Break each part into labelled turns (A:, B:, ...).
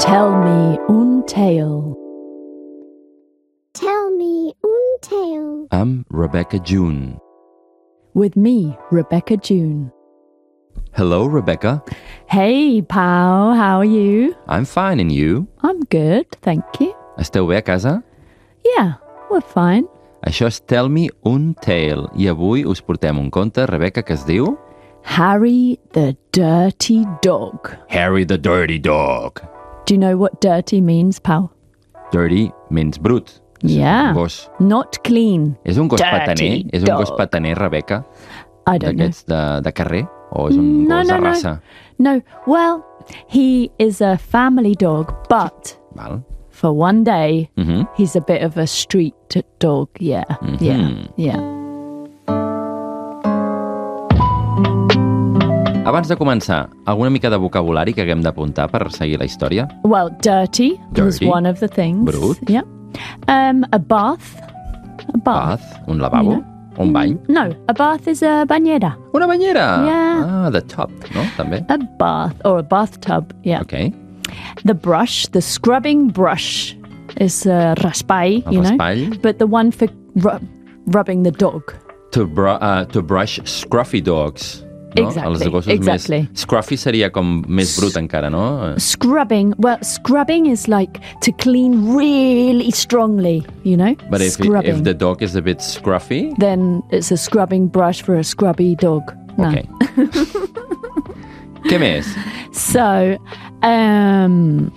A: Tell me un tale.
B: Tell me un tale.
C: I'm Rebecca June.
A: With me, Rebecca June.
C: Hello, Rebecca.
A: Hey, pal, how are you?
C: I'm fine, and you?
A: I'm good, thank you.
C: Esteu bé a casa?
A: Yeah, we're fine.
C: Això és Tell Me Un Tale, i avui us portem un conte, Rebecca, que es diu...
A: Harry the Dirty Dog.
C: Harry the Dirty Dog.
A: Do you know what dirty means, pal?
C: Dirty means brut. És
A: Yeah.
C: Un gos.
A: Not clean.
C: És un gos
A: Dirty
C: pataner? És un gos
A: dog.
C: pataner, Rebecca?
A: I don't know. Mm,
C: D'aquests de, de carrer? O és un
A: No,
C: gos
A: no,
C: de
A: no.
C: raça?
A: No, well, he is a family dog, but
C: Val.
A: for one day,
C: Mhm.
A: he's a bit of a street dog. Yeah, yeah, yeah.
C: Abans de començar, alguna mica de vocabulari que haguem d'apuntar per seguir la història?
A: Well, dirty, was
C: Dirty.
A: one of the things.
C: Brute.
A: Yeah. Um, a bath. A bath.
C: Bath? Un lavabo? Un bany?
A: No, a bath is a bañera.
C: Una banyera!
A: Yeah.
C: Ah, the top, no? També?
A: A bath or a bathtub. Yeah.
C: Ok.
A: The brush, the scrubbing brush, is a raspai,
C: El
A: you know,
C: raspall.
A: but the one for ru- rubbing the dog.
C: To, bru uh, to brush scruffy dogs. No?
A: Exactly,
C: Els gossos
A: exactly.
C: més... Scruffy seria com més brut encara, no?
A: Scrubbing, well, scrubbing is like to clean really strongly, you know?
C: But if,
A: scrubbing.
C: if the dog is a bit scruffy...
A: Then it's a scrubbing brush for a scrubby dog. No.
C: Ok. Què més?
A: So, um,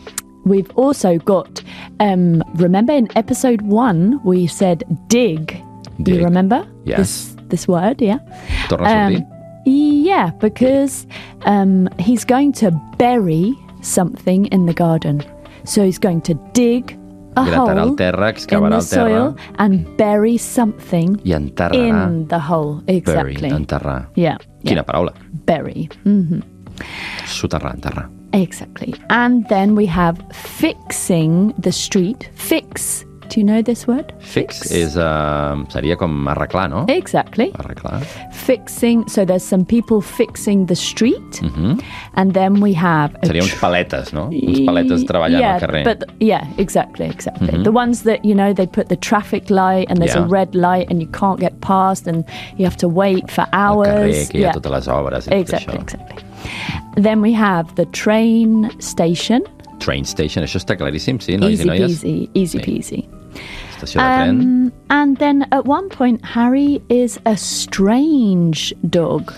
A: we've also got, um, remember in episode one, we said dig. Do
C: Dig.
A: you remember?
C: Yes.
A: This, this word, yeah?
C: Torna a sortir?
A: Um, yeah, because um, he's going to bury something in the garden. So he's going to dig a
C: Gratar al
A: hole
C: terra,
A: in
C: excavar
A: the
C: al terra
A: soil and bury something
C: i enterrarà.
A: in the hole.
C: Bury,
A: Exactly.
C: enterrar.
A: yeah, yeah.
C: Quina paraula.
A: Bury.
C: Soterrar, enterrar.
A: Exactly. And then we have fixing the street. Fix. Do you know this word?
C: Fix és, uh, seria com arreglar, no?
A: Eh. Exactly.
C: Arreglar.
A: Fixing. So there's some people fixing the street.
C: Mm-hmm.
A: And then we have a
C: Seria uns paletes, no? Uns paletes treballant
A: yeah,
C: al carrer.
A: But yeah, exactly, exactly. The ones that you know they put the traffic light and there's a
C: Yeah.
A: red light and you can't get past and you have to wait for
C: al
A: hours.
C: carrer, que hi ha
A: yeah,
C: totes les obres i
A: exactly,
C: tot això.
A: exactly. Then we have the train station.
C: Train station, això està claríssim, sí, nois
A: easy
C: i noies?
A: peasy, easy peasy.
C: Estació de tren.
A: Um, and then at one point, Harry is a strange dog.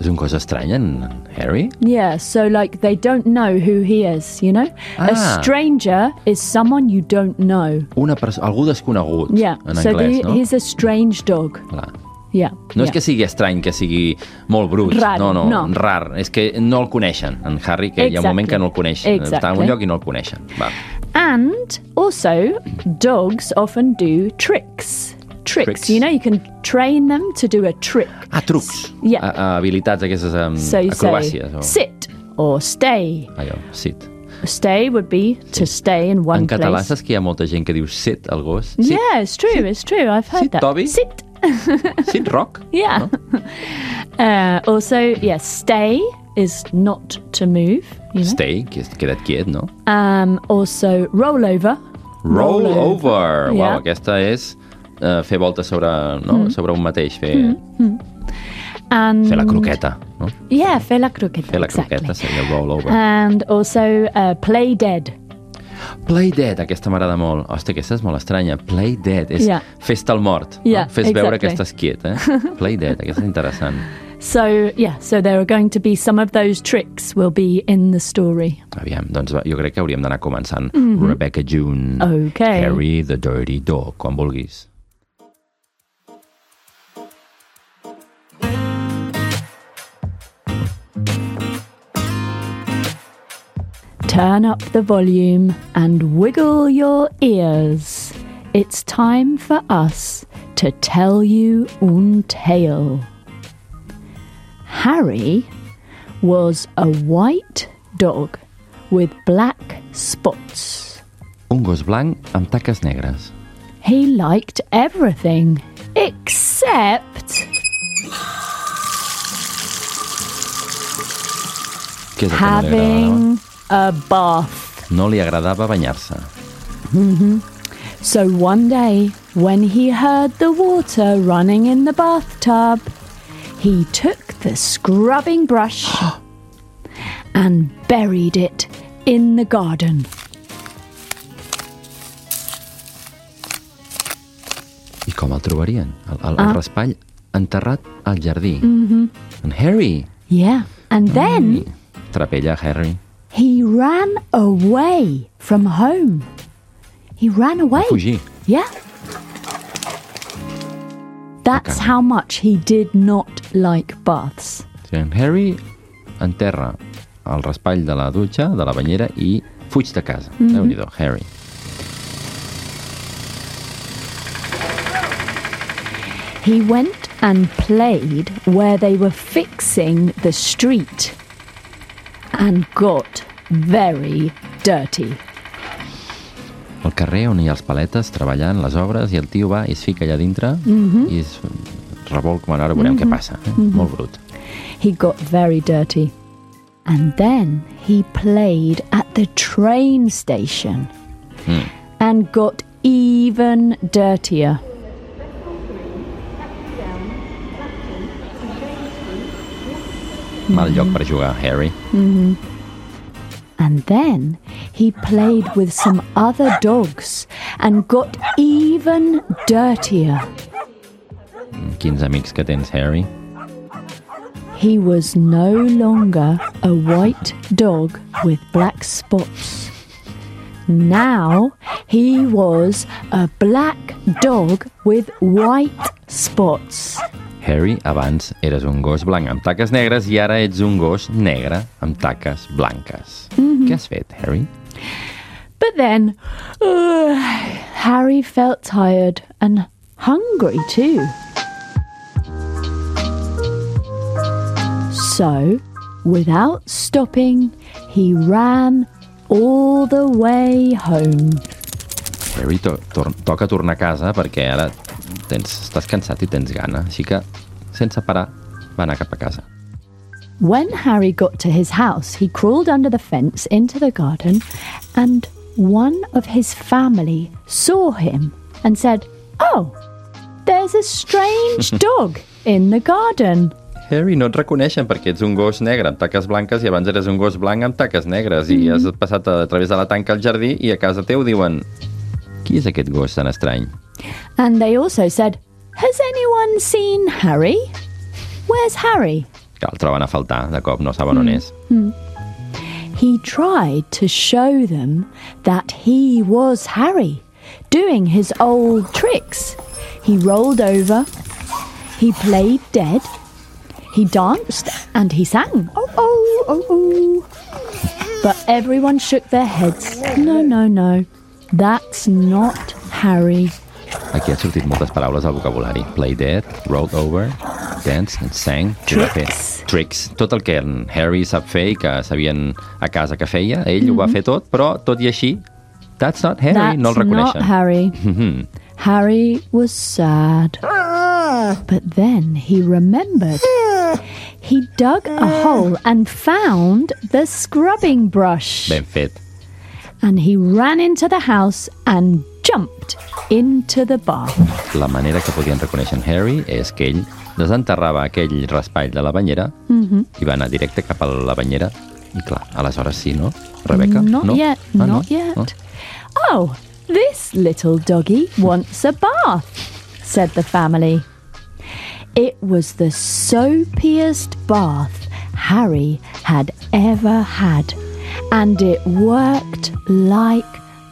C: És un cos estrany, en Harry?
A: Yeah, so like they don't know who he is, you know?
C: Ah.
A: A stranger is someone you don't know.
C: Una perso- algú desconegut,
A: Yeah.
C: en
A: so
C: anglès,
A: the-
C: no?
A: he's a strange dog.
C: Clar.
A: Yeah.
C: No és
A: yeah.
C: que sigui estrany, que sigui molt brut.
A: Rar,
C: no, no,
A: no.
C: rar. És que no el coneixen, en Harry, que hi ha un moment
A: Exactly.
C: que no el coneixen. Està en
A: Exactly.
C: un lloc i no el coneixen. Va.
A: And also, dogs often do tricks. Tricks.
C: Tricks.
A: You know, you can train them to do a trick.
C: Ah, trucs.
A: Yeah.
C: A, a, habilitats aquestes um,
A: So you
C: acrobàcies.
A: say
C: o...
A: sit or stay.
C: Allò, sit.
A: Stay would be to stay in one
C: En català
A: place.
C: saps que hi ha molta gent que diu sit al gos? Sit,
A: Yeah, it's true. It's true. I've heard
C: Sit,
A: that.
C: Dobby.
A: Sit.
C: sit rock?
A: Yeah. Uh, also, yes, stay is not to move. You know?
C: Stay, que és queda't quiet, no?
A: Um, also, roll over.
C: Roll,
A: Roll
C: over.
A: over.
C: Uau,
A: Yeah. Mm.
C: aquesta és eh, fer voltes sobre, no? sobre un mateix, fer,
A: Mm-hmm. And
C: fer la croqueta, no?
A: yeah, fer la croqueta.
C: Fer la
A: exactly. Uh,
C: croqueta seria roll over.
A: And also, uh, play dead.
C: Play dead, aquesta m'agrada molt. Hosti, aquesta és molt estranya. Play dead, és
A: Yeah.
C: fes-te el mort.
A: Yeah,
C: no? Fes veure que
A: exactly.
C: estàs quiet, eh? Play dead, aquesta és interessant.
A: So, yeah, so there are going to be some of those tricks will be in the story.
C: Aviam, doncs va, jo crec que hauríem d'anar començant. Rebecca June,
A: Mm-hmm. Okay.
C: Harry the Dirty Dog, quan vulguis.
A: Turn up the volume and wiggle your ears. It's time for us to tell you un tale. Harry was a white dog with black spots.
C: Un gos blanc amb taques negres.
A: He liked everything except
C: Què és el que no li
A: having
C: agradava?
A: a bath.
C: No li agradava banyar-se.
A: So one day, when he heard the water running in the bathtub, he took the scrubbing brush and buried it in the garden.
C: I com el trobarien? El, el, el raspall enterrat al jardí. Mm -hmm. En Harry.
A: Yeah. And
C: Mm.
A: then
C: Trapella, Harry.
A: he ran away from home. He ran away.
C: Fugir.
A: Yeah. That's how much he did not like baths.
C: Sí, en Harry enterra el raspall de la dutxa, de la banyera, i fuig de casa. Mm -hmm. Déu-n'hi-do, Harry.
A: He went and played where they were fixing the street and got very dirty.
C: Al carrer on hi ha els paletes treballant les obres i el tio va i es fica allà dintre mm -hmm. i es revolc, bueno, ara veurem mm -hmm. què passa. Eh? Mm -hmm. Molt brut.
A: He got very dirty. And then he played at the train station and got even dirtier.
C: Mal lloc per jugar, Harry.
A: And then he played with some other dogs and got even dirtier.
C: Quins amics que tens, Harry.
A: He was no longer a white dog with black spots. Now he was a black dog with white spots.
C: Harry, abans eres un gos blanc amb taques negres i ara ets un gos negre amb taques blanques. Què has fet, Harry?
A: But then, uh, Harry felt tired and hungry too. So, without stopping, he ran all the way home.
C: Harry, to tor toca tornar a casa perquè ara tens, estàs cansat i tens gana, així que, sense parar, va anar cap a casa.
A: When Harry got to his house, he crawled under the fence into the garden, and one of his family saw him and said, Oh, there's a strange dog in the garden.
C: Harry, no et reconeixen perquè ets un gos negre amb taques blanques i abans eres un gos blanc amb taques negres i has passat a, a través de la tanca al jardí i a casa teu diuen qui és aquest gos tan estrany?
A: And they also said, Has anyone seen Harry? Where's Harry?
C: Que el troben a faltar, de cop no saben on és.
A: He tried to show them that he was Harry, doing his old tricks. He rolled over, he played dead, he danced, and he sang. Oh, oh, oh, oh. But everyone shook their heads. No, no, no. That's not Harry.
C: Aquí han sortit moltes paraules al vocabulari. Play dead, rolled over, dance and sang.
A: Tricks.
C: Tricks. Tot el que en Harry sap fer i que sabien a casa que feia, ell mm -hmm. ho va fer tot, però tot i així, that's not Harry,
A: Mhm. That's
C: no el
A: not
C: reconeixen.
A: Harry. Harry was sad. But then he remembered. He dug a hole and found the scrubbing brush.
C: Ben fet.
A: And he ran into the house and jumped into the bath.
C: La manera que podien reconèixer en Harry és que ell desenterrava aquell raspall de la banyera mm
A: Mhm.
C: -hmm. i va anar directe cap a la banyera i clar, aleshores sí, no? Rebeca?
A: Not
C: no?
A: yet,
C: Ah, no?
A: not yet.
C: No?
A: Oh, this little doggy wants a bath, said the family. It was the soapiest bath Harry had ever had, and it worked like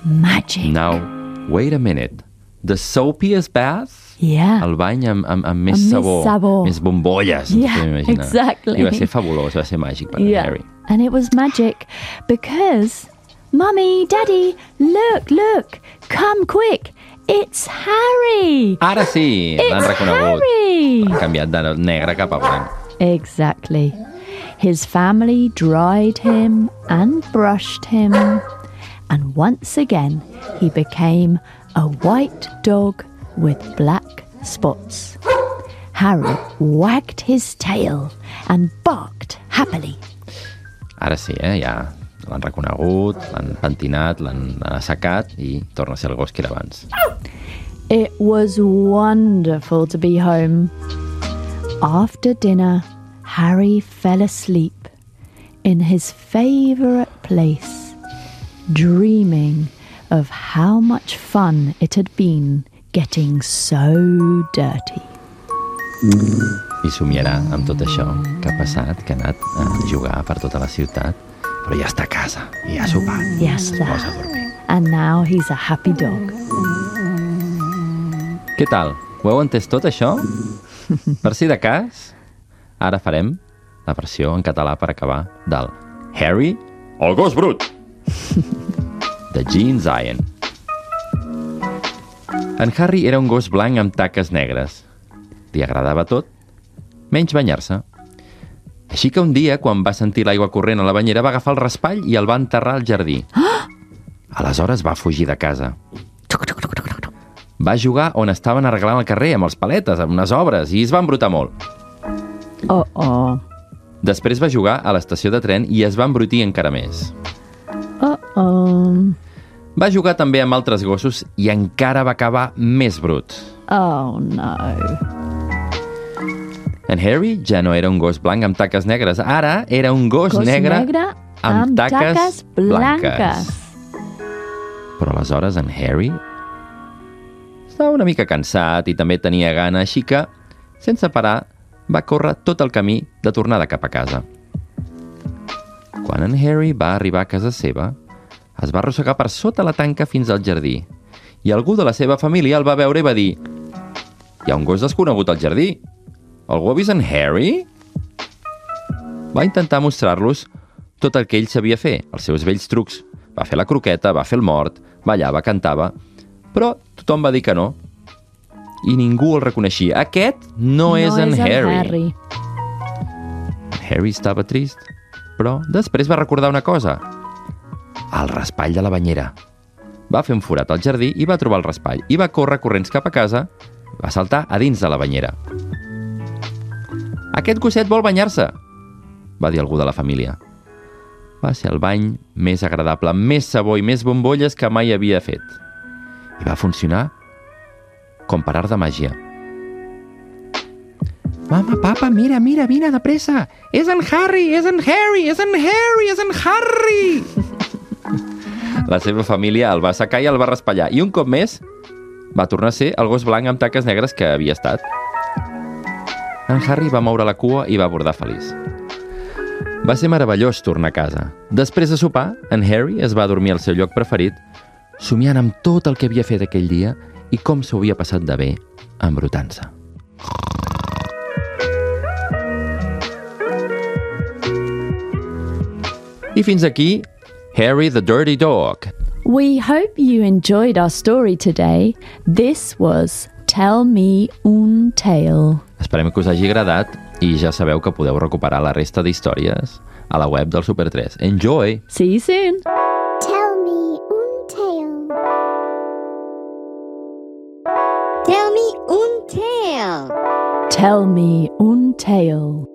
A: magic.
C: Now, wait a minute. The soapiest bath?
A: Yeah.
C: El bany amb, amb, amb més
A: Amb més
C: sabor,
A: sabor.
C: més bombolles. ens
A: Yeah,
C: podem imaginar.
A: exactly.
C: I va ser fabulós, va ser màgic per en Harry.
A: And it was magic because, Mummy, Daddy, look, look, come quick. It's Harry.
C: Ara sí, l'han
A: It's
C: reconegut.
A: Harry.
C: Han canviat de negre cap a blanc.
A: Exactly. His family dried him and brushed him. And once again, he became a white dog with black spots. Harry wagged his tail and barked happily.
C: Ara sí, eh? Ja L'han reconegut, l'han pentinat, l'han assecat i torna a ser el gos que era abans.
A: It was wonderful to be home. After dinner, Harry fell asleep in his favourite place, dreaming of how much fun it had been getting so dirty.
C: I somiarà amb tot això que ha passat, que ha anat a jugar per tota la ciutat, però ja està a casa, i ja ha sopat,
A: Ja està.
C: es posa a dormir.
A: And now he's a happy dog.
C: Què tal? Ho heu entès tot, això? Per si de cas, ara farem la versió en català per acabar del Harry, el gos brut, de Gene Zion. En Harry era un gos blanc amb taques negres. Li agradava tot, menys banyar-se. Així que un dia, quan va sentir l'aigua corrent a la banyera, va agafar el raspall i el va enterrar al jardí. Aleshores va fugir de casa. Va jugar on estaven arreglant el carrer, amb els paletes, amb unes obres, i es va embrutar molt.
A: Oh, oh.
C: Després va jugar a l'estació de tren i es va embrutir encara més.
A: Oh, oh.
C: Va jugar també amb altres gossos i encara va acabar més brut.
A: Oh, no.
C: En Harry ja no era un gos blanc amb taques negres, ara era un gos,
A: Gos
C: negre,
A: negre
C: amb,
A: amb
C: taques,
A: taques blanques.
C: Però aleshores en Harry estava una mica cansat i també tenia gana, així que, sense parar, va córrer tot el camí de tornada cap a casa. Quan en Harry va arribar a casa seva, es va arrossegar per sota la tanca fins al jardí i algú de la seva família el va veure i va dir «Hi ha un gos desconegut al jardí. Algú ha vist en Harry?» Va intentar mostrar-los tot el que ell sabia fer, els seus vells trucs. Va fer la croqueta, va fer el mort, ballava, cantava... Però tothom va dir que no. I ningú el reconeixia. Aquest no, és en Harry.
A: Harry.
C: Harry estava trist, però després va recordar una cosa. El raspall de la banyera. Va fer un forat al jardí i va trobar el raspall i va córrer corrents cap a casa, va saltar a dins de la banyera. Aquest gosset vol banyar-se, va dir algú de la família. Va ser el bany més agradable, amb més sabó i més bombolles que mai havia fet. I va funcionar com per art de màgia. Mama, papa, mira, mira, vine de pressa. És en Harry, és en Harry, és en Harry, és en Harry! La seva família el va assecar i el va raspallar. I un cop més va tornar a ser el gos blanc amb taques negres que havia estat. En Harry va moure la cua i va abordar feliç. Va ser meravellós tornar a casa. Després de sopar, en Harry es va dormir al seu lloc preferit, somiant amb tot el que havia fet aquell dia i com s'ho havia passat de bé embrutant-se. I fins aquí, Harry the Dirty Dog.
A: We hope you enjoyed our story today. This was Tell Me Un Tale.
C: Esperem que us hagi agradat i ja sabeu que podeu recuperar la resta d'històries a la web del Super 3. Enjoy!
A: See you soon.
B: Tell me un tale. Tell me un tale.
A: Tell Me Un Tale.